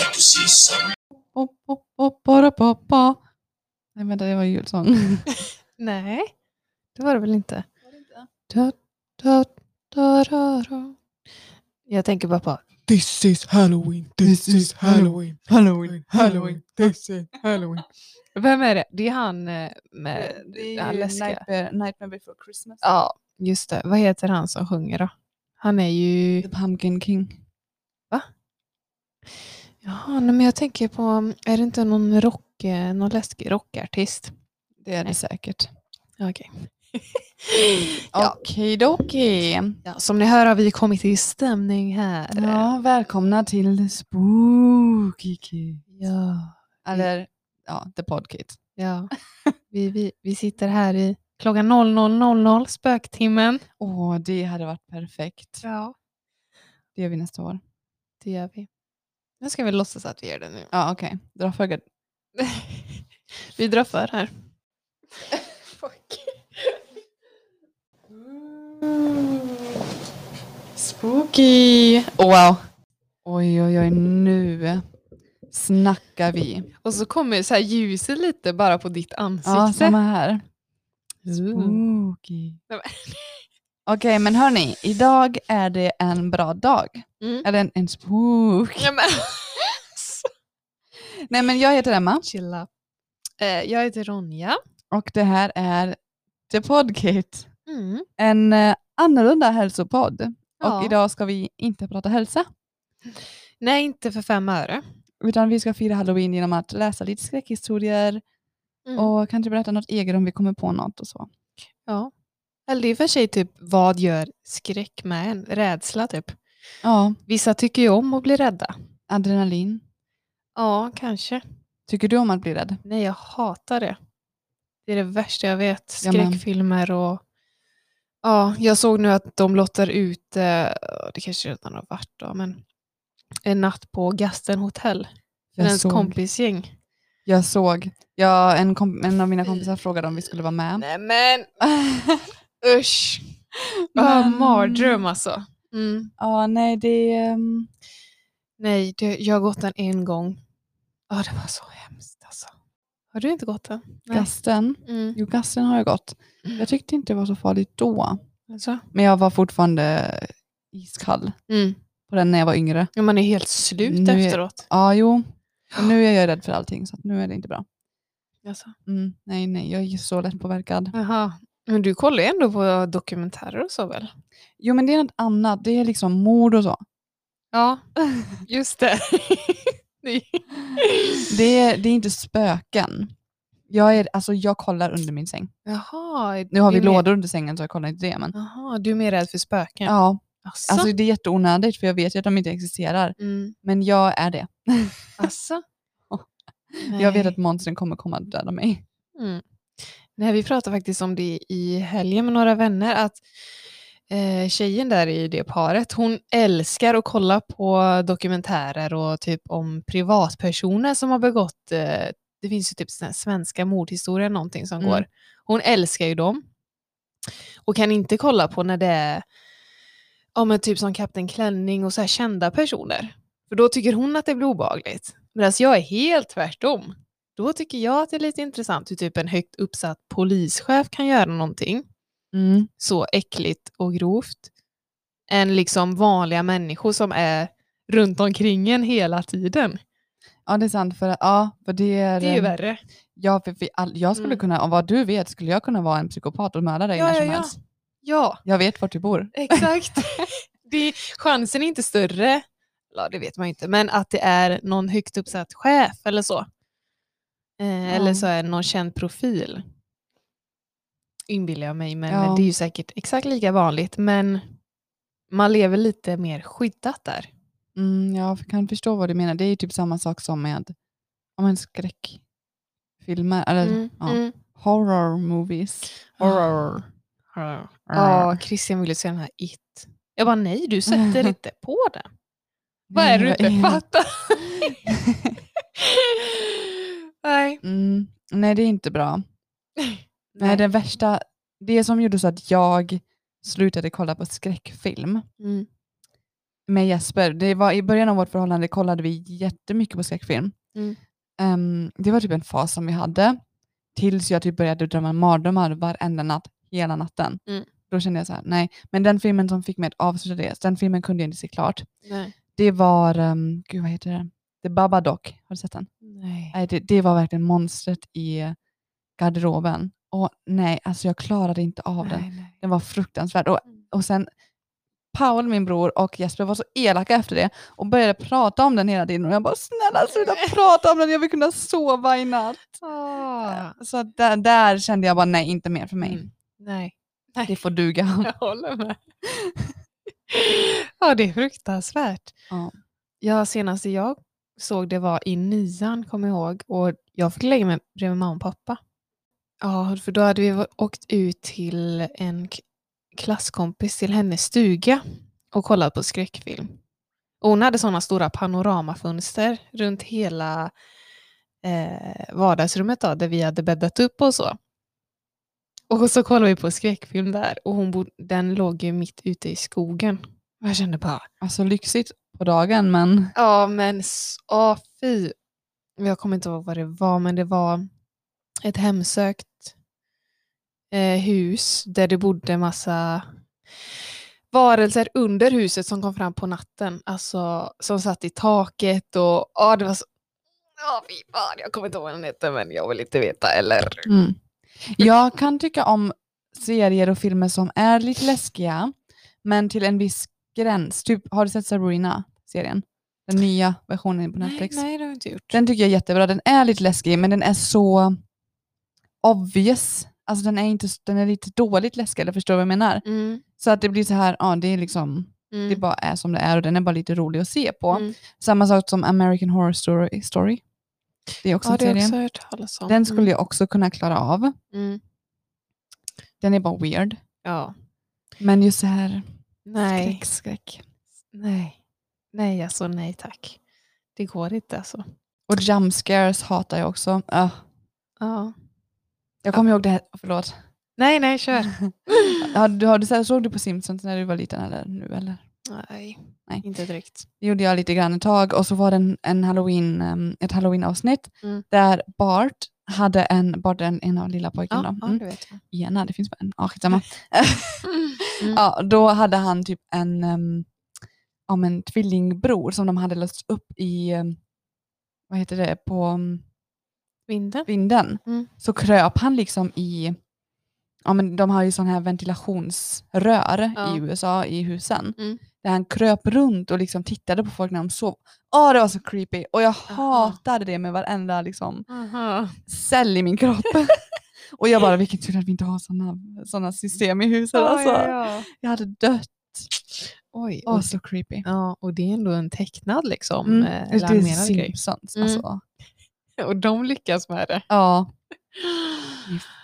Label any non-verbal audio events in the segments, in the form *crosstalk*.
är precis samma. Pop, pop, pop, bara, pop, pa. Nej vänta, det var en *laughs* julsång. Äh, Nej, det var det väl inte. Da, da, da, da, da. Jag tänker bara på This is Halloween, this is Halloween, Halloween, Halloween, this is Halloween. Vem är det? Det är han eh, med Det den är här ju läskiga. Nightmare, Nightmare before Christmas. Ja, just det. Vad heter han som sjunger då? Han är ju... The Pumpkin King. Jaha, nej, men jag tänker på, är det inte någon, rock, eh, någon läskig rockartist? Det är det säkert. Okej. Ja. Okidoki. Ja, som ni hör har vi kommit i stämning här. Ja, välkomna till Spooky Kids. Ja. Eller ja, The Pod Kids. ja. *laughs* Vi, vi, vi sitter här i klockan 00.00, spöktimmen. Åh, det hade varit perfekt. Ja. Det gör vi nästa år. Det gör vi. Nu ska vi låtsas att vi gör det nu. Ja, okej. Dra för gard- Vi drar för här. Spooky! Wow. Oj, oj, oj, nu snackar vi. Och så kommer så här ljuset lite bara på ditt ansikte. Ja, samma här. Zoom. Spooky. Mm. Nej, Okej, *laughs* men hörni, idag är det en bra dag. Mm. Eller en, en spook. Ja, men. *laughs* Nej, men jag heter Emma Chilla. Eh, jag heter Ronja. och det här är The Podkit. Mm. En eh, annorlunda hälsopodd. Ja. Och idag ska vi inte prata hälsa, Nej, inte för fem öre. utan vi ska fira halloween genom att läsa lite skräckhistorier Mm. och kanske berätta något eget om vi kommer på något och så. Ja. Eller det är i och för sig typ vad gör skräck med en? Rädsla typ. Ja, Vissa tycker ju om att bli rädda. adrenalin. Ja, kanske. Tycker du om att bli rädd? Nej, jag hatar det. Det är det värsta jag vet. Ja, men. Skräckfilmer och... Ja, jag såg nu att de lottar ut, eh, det kanske redan har varit då, men en natt på Gasten hotell med ens kompisgäng. jag såg. Jag, en, kom, en av mina kompisar frågade om vi skulle vara med. Nej men *laughs* usch! Ja, Men- mardröm alltså. Mm. Ja, nej det... ehm, Nej, det, jag har gått den en gång. Ja, det var så hemskt alltså. Har du inte gått den? Nej. Gasten. Mm. Jo, gasten har jag gått. Mm. Jag tyckte inte det var så farligt då. Alltså. Men jag var fortfarande iskall Mm. på den när jag var yngre. Ja, man är helt slut Nu är- efteråt. Ja, jo. Men nu är jag rädd för allting så att nu är det inte bra. Alltså. Mm, nej, nej, jag är ju så lättpåverkad. Jaha. Men du kollar ju ändå på dokumentärer och så väl? Jo, men det är något annat. Det är liksom mord och så. Ja, *laughs* just det. *laughs* Det- Det är, det är inte spöken. Jag, är, alltså, jag kollar under min säng. Jaha. är- Nu har du vi är mer- lådor under sängen så jag kollar inte det. Men, Jaha, du är mer rädd för spöken? ja, Asså? alltså, det är jätteonödigt för jag vet ju att de inte existerar. mm. Men jag är det. Asså? Jag vet Nej. att monstren kommer komma och döda mig. Mm. Nej, vi pratade faktiskt om det i helgen med några vänner, att eh, tjejen där i det paret, hon älskar att kolla på dokumentärer och typ om privatpersoner som har begått, eh, det finns ju typ såna här svenska mordhistorier eller någonting som Mm. går. Hon älskar ju dem och kan inte kolla på när det är ja, men typ som Kapten Klänning och så här kända personer. För då tycker hon att det blir obehagligt. Medan jag är helt tvärtom. Då tycker jag att det är lite intressant hur typ en högt uppsatt polischef kan göra någonting Mm. så äckligt och grovt än liksom vanliga människor som är runt omkring en hela tiden. Ja, det är sant. För, ja, för det är, Det är ju ehm, värre. Ja, för, för all, jag skulle Mm. kunna, om vad du vet, skulle jag kunna vara en psykopat och mörda dig Ja, när som ja, ja. helst. Ja, Jag vet vart du bor. exakt. *laughs* det, chansen är inte större, ja det vet man ju inte, men att det är någon högt uppsatt chef eller så. Eh, Eller så är det någon känd profil. Inbillar jag mig, men Ja. det är ju säkert exakt lika vanligt. Men man lever lite mer skyddat där. Mm, jag kan förstå vad du menar. Det är ju typ samma sak som med om en skräckfilmer, eller Mm, ja, horror movies. Horror. Ja, Ja, Christian ville se den här It. Jag bara, nej du *laughs* sätter inte på den. Vad är det du inte fattar? *laughs* nej. *laughs* Mm, nej, det är inte bra. Nej, det värsta, det som gjorde så att jag slutade kolla på skräckfilm, Mm. med Jesper, det var i början av vårt förhållande kollade vi jättemycket på skräckfilm. Mm. Ehm, det var typ en fas som vi hade, tills jag typ började drömma mardrömmar varenda natt, hela natten. Mm. Då kände jag så här, nej. Men den filmen som fick mig att avsluta det, den filmen kunde jag inte se klart. Nej. Det var, ehm, gud vad heter den? The Babadook, har du sett den? Nej. Nej, det, det var verkligen monstret i garderoben. Och nej, alltså jag klarade inte av den. Nej, nej. Den var fruktansvärd. Och, Mm. och sen Paul, min bror, och Jesper var så elaka efter det och började prata om den hela tiden. Och jag bara, snälla *laughs* sluta prata om den, jag vill kunna sova i natt. Ah. Så att där, där kände jag bara, nej, inte mer för mig. Mm. Nej. Det får duga. *laughs* *laughs* Jag håller med. *laughs* ja, det är fruktansvärt. Ja. Ja, senaste jag såg det var i nian, kommer jag ihåg. Och jag fick lägga mig bredvid mamma och pappa. Ja, för då hade vi va- åkt ut till en k- klasskompis till hennes stuga och kollat på skräckfilm. Och hon hade sådana stora panoramafönster runt hela eh, vardagsrummet då, där vi hade bäddat upp och så. Och så kollade vi på skräckfilm där och hon bod, den låg ju mitt ute i skogen. Och jag kände bara, Alltså lyxigt på dagen, men ja men s- åh fy. Jag kommer inte ihåg vad det var, men det var ett hemsökt eh, hus där det bodde massa varelser under huset som kom fram på natten. Alltså som satt i taket och ja, det var så... Ja, fy fan, jag kommer inte ihåg vad den hette men jag vill inte veta eller... Mm. Jag kan tycka om serier och filmer som är lite läskiga, men till en viss gräns. Typ, har du sett Sabrina-serien? Den nya versionen på Netflix. Nej, nej, det har jag inte gjort. Den tycker jag är jättebra. Den är lite läskig, men den är så obvious. Alltså den är, inte, s- den är lite dåligt läskig, eller förstår du vad jag menar? Mm, Så att det blir så här, ja det är liksom, mm, det bara är som det är och den är bara lite rolig att se på. Mm. Samma sak som American Horror Story. Story. Det är också Ja, en det har jag serie. också hört talas om. Den skulle jag också kunna klara av. Mm. Mm. Den är bara weird. Ja. Men just så här, Nej. skräck, skräck. nej. Nej, alltså nej tack. Det går inte alltså. Och jump scares hatar jag också. Ah, Ja. jag kommer ihåg det här, förlåt. Nej, nej, kör. Har du, har du, så här- såg du på Simpsons när du var liten eller nu? Eller? *laughs* nej. Nej. inte direkt. Det gjorde jag lite grann ett tag och så var det en, en halloween, em, ett halloween-avsnitt Mm. där Bart hade en, Bart är en, en av lilla pojken Ja, då. ja, Mm. det vet jag. Ena, det finns bara en. Ja, skitsamma. Mm. Ja, då hade han typ en, em, ja, men tvillingbror som de hade löst upp i, em, vad heter det, på ehm, em, *clears throat* Vinden? vinden Mm. så kröp han liksom i, ja men de har ju sådana här ventilationsrör Ja. i USA i husen. Mm. Där han kröp runt och liksom tittade på folk när de sov. Åh det var så creepy och jag hatade det med varenda liksom, Aha. cell i min *laughs* kropp. och jag bara vilken tur att vi inte har sådana såna system i huset. alltså. Ja, ja, ja. Jag hade dött. Oj. Åh och, så creepy. ja, och det är ändå en tecknad liksom. Mm. eh, Det Eller är animerad grej. *laughs* Simpsons Mm. alltså. Och de lyckas med *gasps* det. Ja.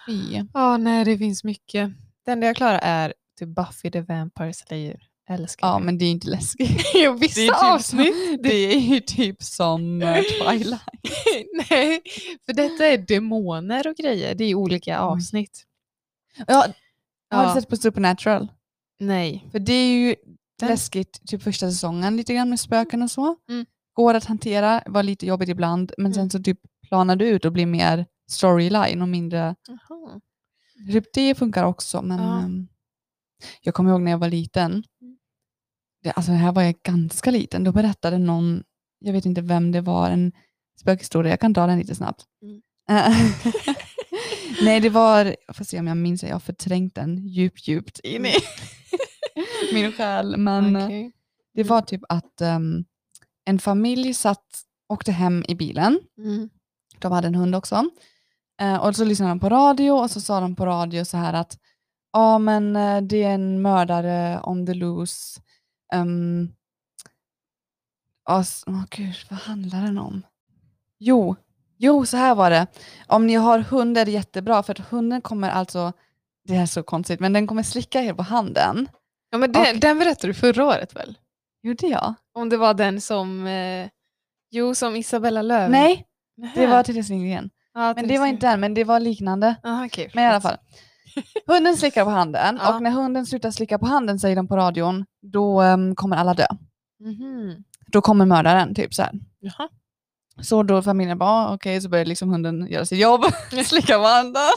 Fy. Ja, nej, det finns mycket. Det enda jag klarar är typ Buffy the Vampire Slayer. Älskar Ja det. men det är ju inte läskigt. *laughs* *laughs* Jo, Det är typ vissa som- avsnitt. Det är ju typ som eh, Twilight. *laughs* Nej, för detta är demoner och grejer. Det är olika avsnitt. Mm. Ja, Har Ja. du sett på Supernatural? Nej. För det är ju Den- läskigt typ första säsongen lite grann med spöken och så. Mm. Går att hantera, var lite jobbigt ibland men sen Mm. så typ planar du ut och blir mer storyline och mindre... Typ det funkar också men Ja. ehm, jag kommer ihåg när jag var liten. Mm. Det, alltså det här var jag ganska liten. Då berättade någon, jag vet inte vem det var, en spökhistoria. Jag kan dra den lite snabbt. Mm. *laughs* Nej, det var, jag får se om jag minns det, jag har förträngt den djupt, djupt in i *laughs* min själ. Mm. Men eh, Okej. det var typ att ehm, en familj satt, åkte hem i bilen, Mm. de hade en hund också, Eh, och så lyssnade de på radio och så sa de på radio så här att ja men eh, det är en mördare on the loose. Um, oh, gud, vad handlar den om? Jo, jo, så här var det. Om ni har hund är det jättebra för att hunden kommer alltså, det här är så konstigt, men den kommer slicka er på handen. Ja, men den, Och- den berättade du förra året väl? Gjorde jag? Om det var den som... Eh, jo, som Isabella Löv. Nej, Nähä. Det var Therese Lindgren. Ja, typ Men det var inte den, men det var liknande. Aha, okej, Men i alla förlåt. *laughs* fall. Hunden slickar på handen Ja. och när hunden slutar slicka på handen, säger de på radion, då ehm, kommer alla dö. Mhm. Då kommer mördaren, typ så här. Jaha. Så då familjen bara, "Ah, okej, så börjar liksom hunden göra sitt jobb, *laughs* slicka på andan. *laughs*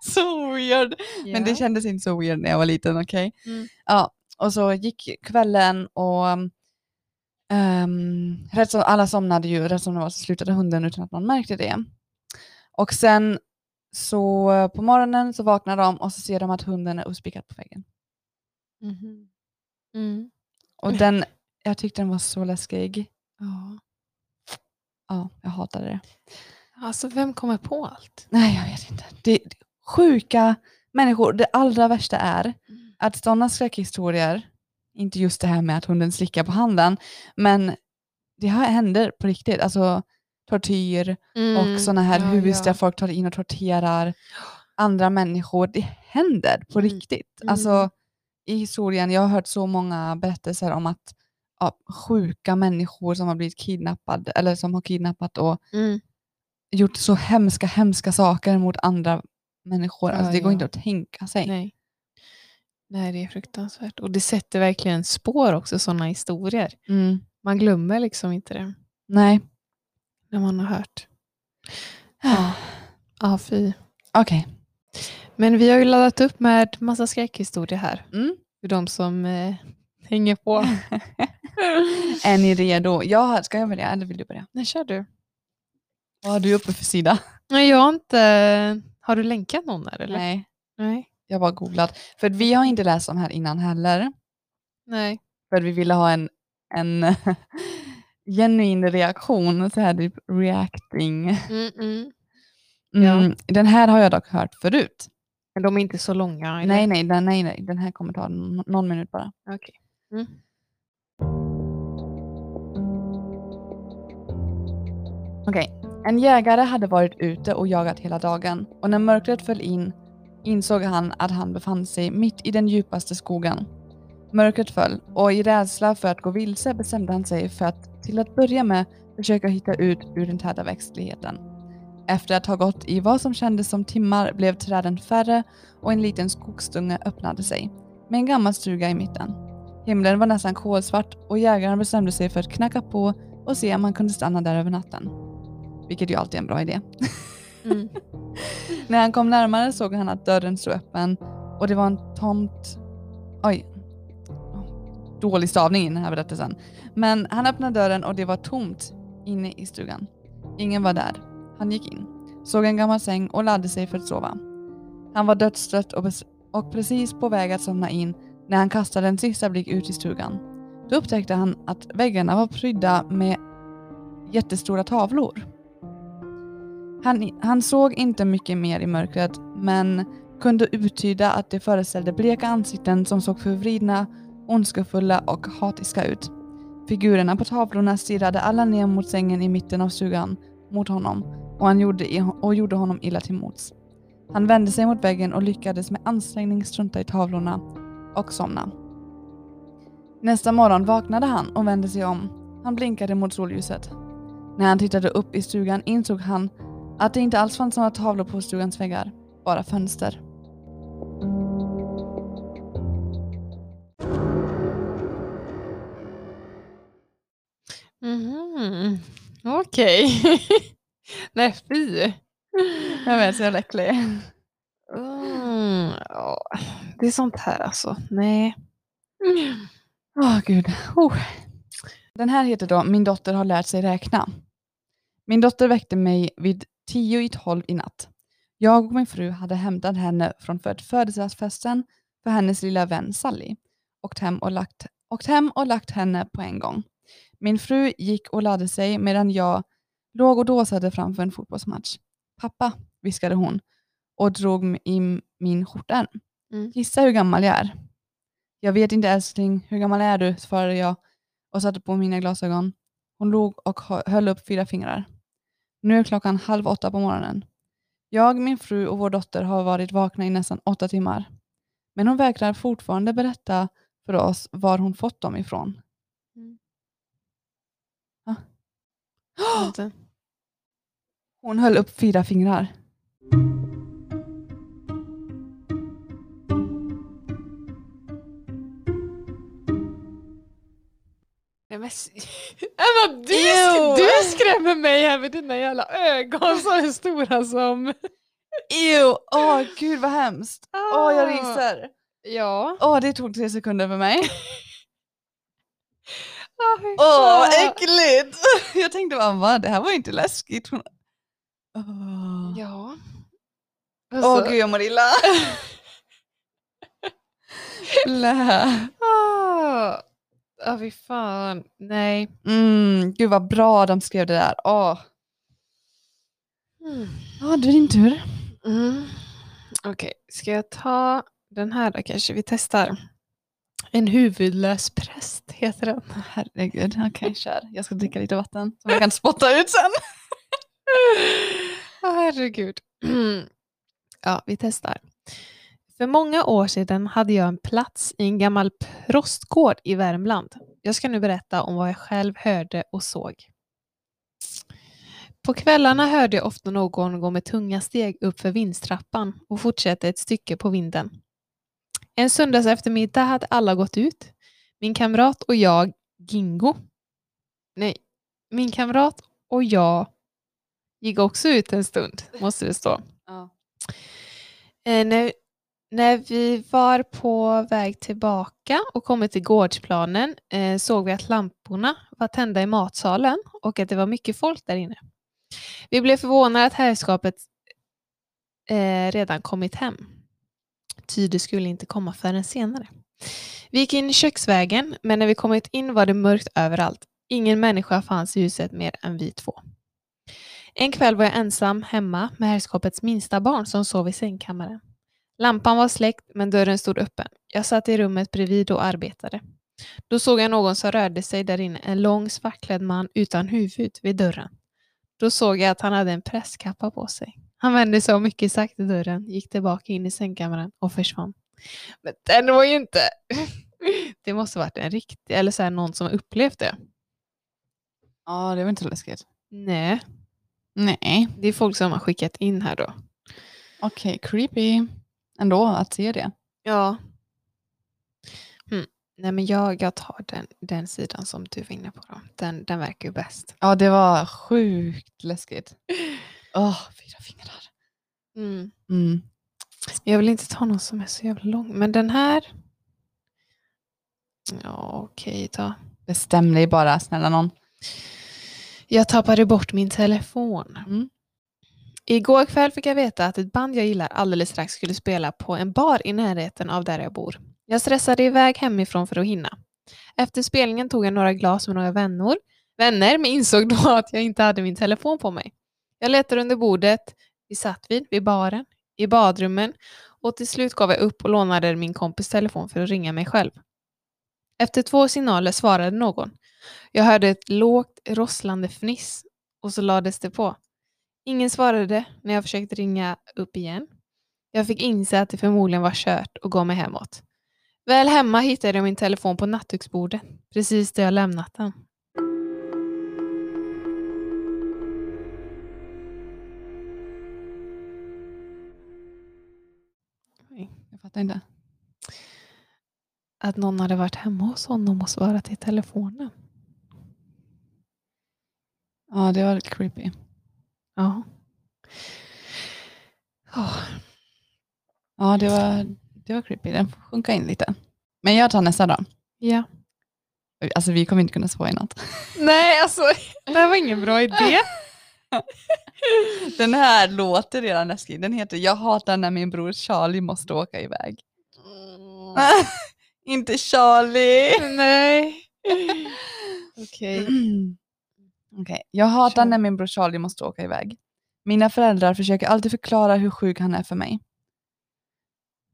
så, så weird. Men det Ja. kändes inte så weird när jag var liten, okej? Mm. Ja, och så gick kvällen och um, rätt som, alla somnade ju, rätt som det var så slutade hunden utan att någon märkte det. Och sen så eh, på morgonen så vaknar de och så ser de att hunden är uppspikad på väggen. Mhm. Mm. *laughs* Och den, jag tyckte den var så läskig. Ja. Ja, jag hatade det. Alltså vem kommer på allt? Nej, jag vet inte. Det, det, sjuka människor, det allra värsta är Mm. att sådana skräckhistorier, inte just det här med att hunden slickar på handen, men det här händer på riktigt. Alltså tortyr Mm. och sådana här hus där folk tar in och torterar andra människor. Det händer på Mm. riktigt. Mm. Alltså i historien, jag har hört så många berättelser om att ja, sjuka människor som har blivit kidnappade eller som har kidnappat och Mm. gjort så hemska, hemska saker mot andra människor. Alltså, Ja, det går ja. inte att tänka sig. Nej. Nej, det är fruktansvärt. Och det sätter verkligen spår också, sådana historier. Mm. Man glömmer liksom inte det Nej. när man har hört. Ja, ja ah, fy. Okej. Men vi har ju laddat upp med massa skräckhistorier här. Mm. För de som eh, hänger *laughs* på. Är ni redo? Jag har, ska jag börja eller vill du börja? När kör du? Vad har du uppe för sida? Nej, jag har inte... Har du länkat någon där eller? Nej. Nej. Jag bara googlat. För att vi har inte läst de här innan heller. Nej. För att vi ville ha en, en *laughs* genuin reaktion. Så här typ reacting. Mm -mm. Mm, Den här har jag dock hört förut. Men de är inte så långa? eller? Nej, nej, den, nej, nej. Den här kommer ta n- någon minut bara. Okej. Mm. Okej. En jägare hade varit ute och jagat hela dagen och när mörkret föll in insåg han att han befann sig mitt i den djupaste skogen. Mörkret föll och i rädsla för att gå vilse bestämde han sig för att till att börja med försöka hitta ut ur den täta växtligheten. Efter att ha gått i vad som kändes som timmar blev träden färre och en liten skogsdunge öppnade sig med en gammal stuga i mitten. Himlen var nästan kolsvart och jägaren bestämde sig för att knacka på och se om han kunde stanna där över natten. Vilket ju alltid är en bra idé. Mm. *laughs* När han kom närmare såg han att dörren stod öppen och det var en tomt... Oj. Dålig stavning i den här berättelsen. Men han öppnade dörren och det var tomt inne i stugan. Ingen var där. Han gick in, såg en gammal säng och lade sig för att sova. Han var dödstrött och, bes- och precis på väg att somna in när han kastade en sista blick ut i stugan. Då upptäckte han att väggarna var prydda med jättestora tavlor. Han, han såg inte mycket mer i mörkret, men kunde uttyda att det föreställde bleka ansikten som såg förvridna, ondskefulla och hatiska ut. Figurerna på tavlorna stirrade alla ner mot sängen i mitten av stugan, mot honom, och, han gjorde, och gjorde honom illa till mods. Han vände sig mot väggen och lyckades med ansträngning strunta i tavlorna och somna. Nästa morgon vaknade han och vände sig om. Han blinkade mot solljuset. När han tittade upp i stugan insåg han att det inte alls fanns några tavlor på stugans väggar, bara fönster. Mhm. Okej. *laughs* Nej, fy. Jag vet, så jag är äcklig. Mm. ja, Det är sånt här alltså. Nej. Mm. Åh gud. Oh. Den här heter då Min dotter har lärt sig räkna. Min dotter väckte mig vid tio i tolv i natt. Jag och min fru hade hämtat henne från föd- födelsedagsfesten för hennes lilla vän Sally. Åkt hem, och lagt, åkt hem och lagt henne på en gång. Min fru gick och lade sig medan jag låg och dåsade framför en fotbollsmatch. Pappa, viskade hon och drog i min skjortärm. Mm. Gissa hur gammal jag är. Jag vet inte älskling, hur gammal är du? svarade jag och satte på mina glasögon. Hon log och hö- höll upp fyra fingrar. Nu är klockan halv åtta på morgonen. Jag, min fru och vår dotter har varit vakna i nästan åtta timmar. Men hon vägrar fortfarande berätta för oss var hon fått dem ifrån. Ah. *gasps* Inte. Hon höll upp fyra fingrar. Men s- *laughs* Emma, du, sk- Ew. du skrämmer mig här med dina jävla ögon som är stora som... Ew! Åh gud vad hemskt! Åh jag ryser! Ah. Ja. Åh det tog tre sekunder för *laughs* mig. Åh, Ah, fy Åh vad fan. äckligt! *laughs* Jag tänkte bara va, det här var ju inte läskigt. Hon... Åh. Ja. Åh Alltså, gud jag mår illa. Blä. ah. Ja, fy fan. Nej. Mm, gud vad bra de skrev det där. Åh, Ja, det är din tur. Mm. Okej, ska jag ta den här då kanske? Vi testar. En huvudlös präst heter den. Herregud, okej kör. Jag ska dricka lite vatten som jag kan spotta ut sen. *laughs* Åh, herregud. *clears throat* ja, vi testar. För många år sedan hade jag en plats i en gammal prostgård i Värmland. Jag ska nu berätta om vad jag själv hörde och såg. På kvällarna hörde jag ofta någon gå med tunga steg upp för vindstrappan och fortsätta ett stycke på vinden. En söndags eftermiddag hade alla gått ut. Min kamrat och jag, Gingo. Nej, min kamrat och jag gick också ut en stund, måste det stå. Ja. Eh, när, när vi var på väg tillbaka och kommit till gårdsplanen eh, såg vi att lamporna var tända i matsalen och att det var mycket folk där inne. Vi blev förvånade att herrskapet eh, redan kommit hem. Ty det skulle inte komma förrän senare. Vi gick in köksvägen, men när vi kommit in var det mörkt överallt. Ingen människa fanns i huset mer än vi två. En kväll var jag ensam hemma med herrskapets minsta barn som sov i sängkammaren. Lampan var släckt men dörren stod öppen. Jag satt i rummet bredvid och arbetade. Då såg jag någon som rörde sig där inne, en lång svartklädd man utan huvud vid dörren. Då såg jag att han hade en presskappa på sig. Han vände sig om mycket sakta till dörren, gick tillbaka in i sängkammaren och försvann. Men den var ju inte... *laughs* Det måste varit en riktig, eller så här, någon som har upplevt det. Ja, det var inte så läskigt. Nej, Nej. det är folk som har skickat in här då. Okej, creepy ändå att se det. Ja. Mm. Nej men jag, jag tar den, den sidan som du var inne på. Då. Den, den verkar ju bäst. Ja, det var sjukt läskigt. Åh, oh, fyra fingrar. Mm. Jag vill inte ta någon som är så jävla lång. Men den här. Ja okej ta. Bestäm dig bara, snälla någon. Jag tappade bort min telefon. Mm. Igår kväll fick jag veta att ett band jag gillar alldeles strax skulle spela på en bar i närheten av där jag bor. Jag stressade iväg hemifrån för att hinna. Efter spelningen tog jag några glas med några vänner, vänner men insåg då *laughs* att jag inte hade min telefon på mig. Jag letade under bordet vi satt vid, vid baren, i badrummen och till slut gav jag upp och lånade min kompis telefon för att ringa mig själv. Efter två signaler svarade någon. Jag hörde ett lågt rosslande fniss och så lades det på. Ingen svarade när jag försökte ringa upp igen. Jag fick inse att det förmodligen var kört och gav mig hemåt. Väl hemma hittade jag min telefon på nattduksbordet, precis där jag lämnat den. Jag fattar inte. Att någon hade varit hemma hos honom och svarat i telefonen. Ja, det var creepy. Ja. Åh. Ja, det var, det var creepy. Den får sjunka in lite. Men jag tar nästa då. Ja. Alltså, vi kommer inte kunna svara i natt. *laughs* Nej, alltså det här var ingen bra idé. Den här låter redan läskig. Den heter Jag hatar när min bror Charlie måste åka iväg. *laughs* inte Charlie! *laughs* Nej. Okej. *clears throat* Okej. Jag hatar Kör. när min bror Charlie måste åka iväg. Mina föräldrar försöker alltid förklara hur sjuk han är för mig.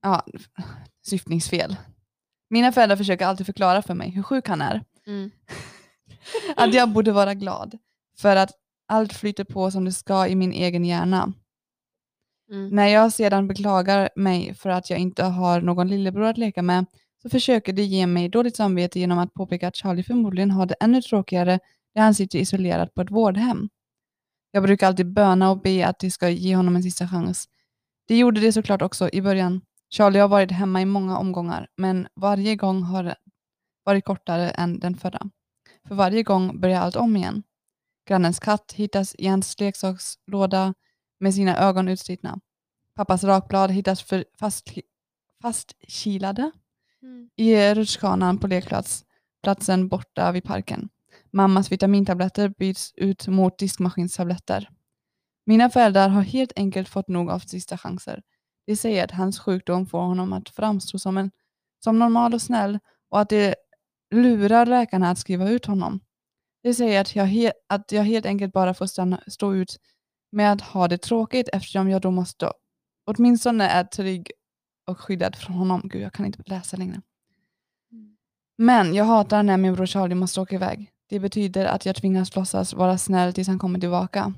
Ja, *sighs* f- syftningsfel. Mina föräldrar försöker alltid förklara för mig hur sjuk han är. Mm. *laughs* Att jag borde vara glad. För att allt flyter på som det ska i min egen hjärna. Mm. När jag sedan beklagar mig för att jag inte har någon lillebror att leka med så försöker de ge mig dåligt samvete genom att påpeka att Charlie förmodligen har det ännu tråkigare där han sitter isolerad på ett vårdhem. Jag brukar alltid böna och be att de ska ge honom en sista chans. De gjorde det såklart också i början. Charlie har varit hemma i många omgångar, men varje gång har varit kortare än den förra. För varje gång börjar allt om igen. Grannens katt hittas i hans leksakslåda med sina ögon utslitna. Pappas rakblad hittas för fast, fastkilade Mm. i rutschkanan på lekplatsen borta vid parken. Mammas vitamintabletter byts ut mot diskmaskinstabletter. Mina föräldrar har helt enkelt fått nog av sista chanser. De säger att hans sjukdom får honom att framstå som, en, som normal och snäll och att de lurar läkarna att skriva ut honom. De säger att jag, he, att jag helt enkelt bara får stanna, stå ut med att ha det tråkigt eftersom jag då måste åtminstone är trygg och skyddad från honom. Gud, jag kan inte läsa längre. Men jag hatar när min bror Charlie måste åka iväg. Det betyder att jag tvingas låtsas vara snäll tills han kommer tillbaka.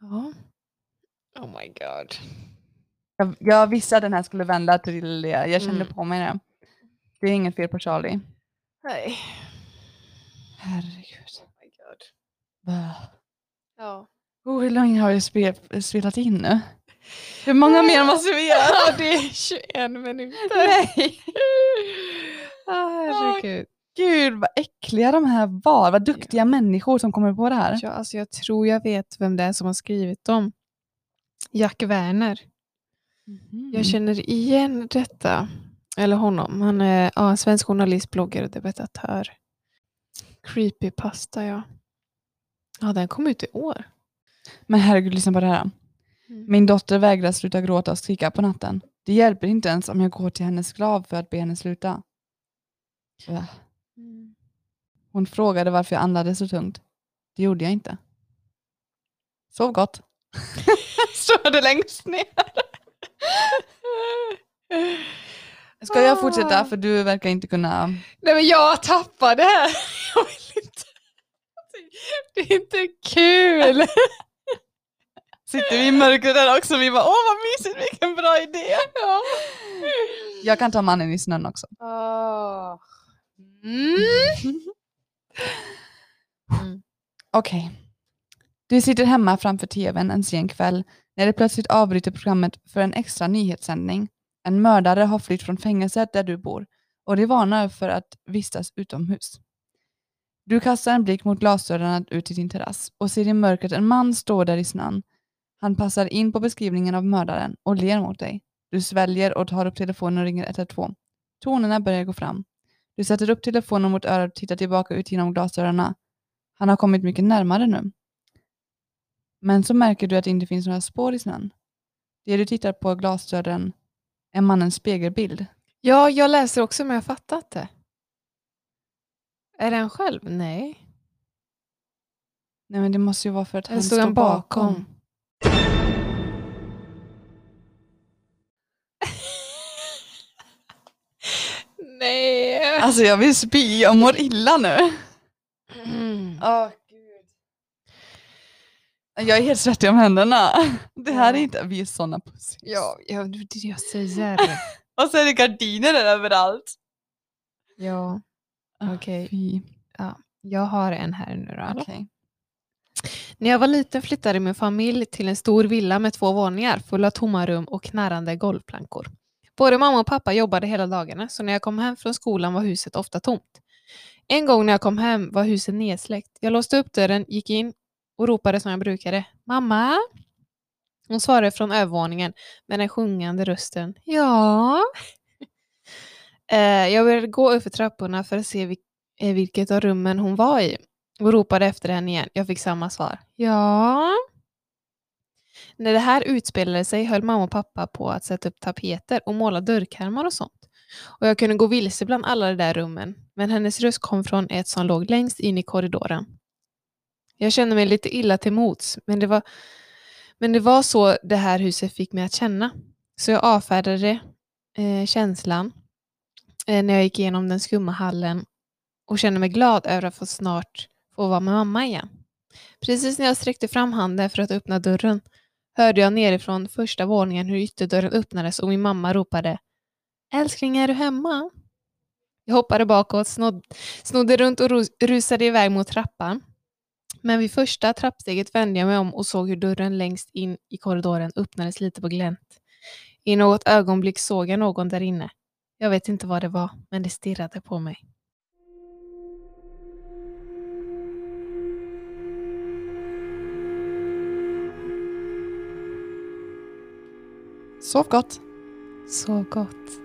Ja. Oh my god. Jag, jag visste att den här skulle vända till det. Jag kände Mm. på mig det. Det är inget fel på Charlie. Nej. Herregud. Oh my god. Bah. Ja. Oh, hur länge har vi spe- spelat in nu? Hur många mer måste vi *laughs* göra? Ja, det är 21 minuter. Nej. *laughs* Ah, herregud. Gud vad äckliga de här var. Vad duktiga människor som kommer på det här. Ja, alltså jag tror jag vet vem det är som har skrivit dem. Jack Werner. Mm-hmm. Mm. Jag känner igen detta. Eller honom. Han är ja, en svensk journalist, bloggare och debattör. Creepypasta, ja. Ja, den kom ut i år. Men herregud, lyssna på det här. Mm. *laughs* Min dotter vägrar sluta gråta och skrika på natten. Det hjälper inte ens om jag går till hennes grav för att be henne sluta. Va? Hon frågade varför jag andades så tungt. Det gjorde jag inte. Sov gott. Står det längst ner. Ska jag fortsätta? För du verkar inte kunna... um, Nej men jag tappar det här. *laughs* Jag vill inte. Det är inte kul. Sitter vi i mörkret där också? Vi bara, åh vad mysigt, vilken bra idé. Jag kan ta mannen i snön också. Åh. Mm. Okej. Du sitter hemma framför tvn en sen kväll när det plötsligt avbryter programmet för en extra nyhetssändning. En mördare har flytt från fängelset där du bor och de varnar för att vistas utomhus. Du kastar en blick mot glasdörrarna ut till din terrass och ser i mörkret en man stå där i snön. Han passar in på beskrivningen av mördaren och ler mot dig. Du sväljer och tar upp telefonen och ringer 112. Tonerna börjar gå fram. Du sätter upp telefonen mot örat och tittar tillbaka ut genom glasdörrarna. Han har kommit mycket närmare nu. Men så märker du att det inte finns några spår i snön. Det du tittar på är glasdörren är mannens spegelbild. Ja, jag läser också men jag fattar inte. Är den själv? Nej. Nej men det måste ju vara för att Eller han stod står han bakom? bakom. Nej. Alltså jag vill spy, jag mår illa nu. Mm. Oh, jag är helt svettig om händerna. Det här är inte, vi är sådana pussis. Ja, ja, det är det jag säger. Och så är det gardiner överallt. ja, Okej. Fy. jag har en här nu då. Okej. När jag var liten flyttade min familj till en stor villa med två våningar full av tomma rum och knarrande golvplankor. Både mamma och pappa jobbade hela dagarna så när jag kom hem från skolan var huset ofta tomt. En gång när jag kom hem var huset nedsläckt. Jag låste upp dörren, gick in och ropade som jag brukade. Mamma? Hon svarade från övervåningen med den sjungande rösten. Ja? *laughs* Eh, jag började gå upp för trapporna för att se vil- eh, vilket av rummen hon var i och ropade efter henne igen. Jag fick samma svar. Ja. När det här utspelade sig höll mamma och pappa på att sätta upp tapeter och måla dörrkarmar och sånt. Och jag kunde gå vilse bland alla de där rummen, men hennes röst kom från ett som låg längst in i korridoren. Jag kände mig lite illa till mots, men det var, men det var så det här huset fick mig att känna. Så jag avfärdade eh, känslan eh, när jag gick igenom den skumma hallen och kände mig glad över att få snart få vara med mamma igen. Precis när jag sträckte fram handen för att öppna dörren hörde jag nerifrån första våningen hur ytterdörren öppnades och min mamma ropade Älskling, är du hemma? Jag hoppade bakåt, snod, snodde runt och ros, rusade iväg mot trappan. Men vid första trappsteget vände jag mig om och såg hur dörren längst in i korridoren öppnades lite på glänt. I något ögonblick såg jag någon där inne. Jag vet inte vad det var, men det stirrade på mig. Sov gott. Så gott.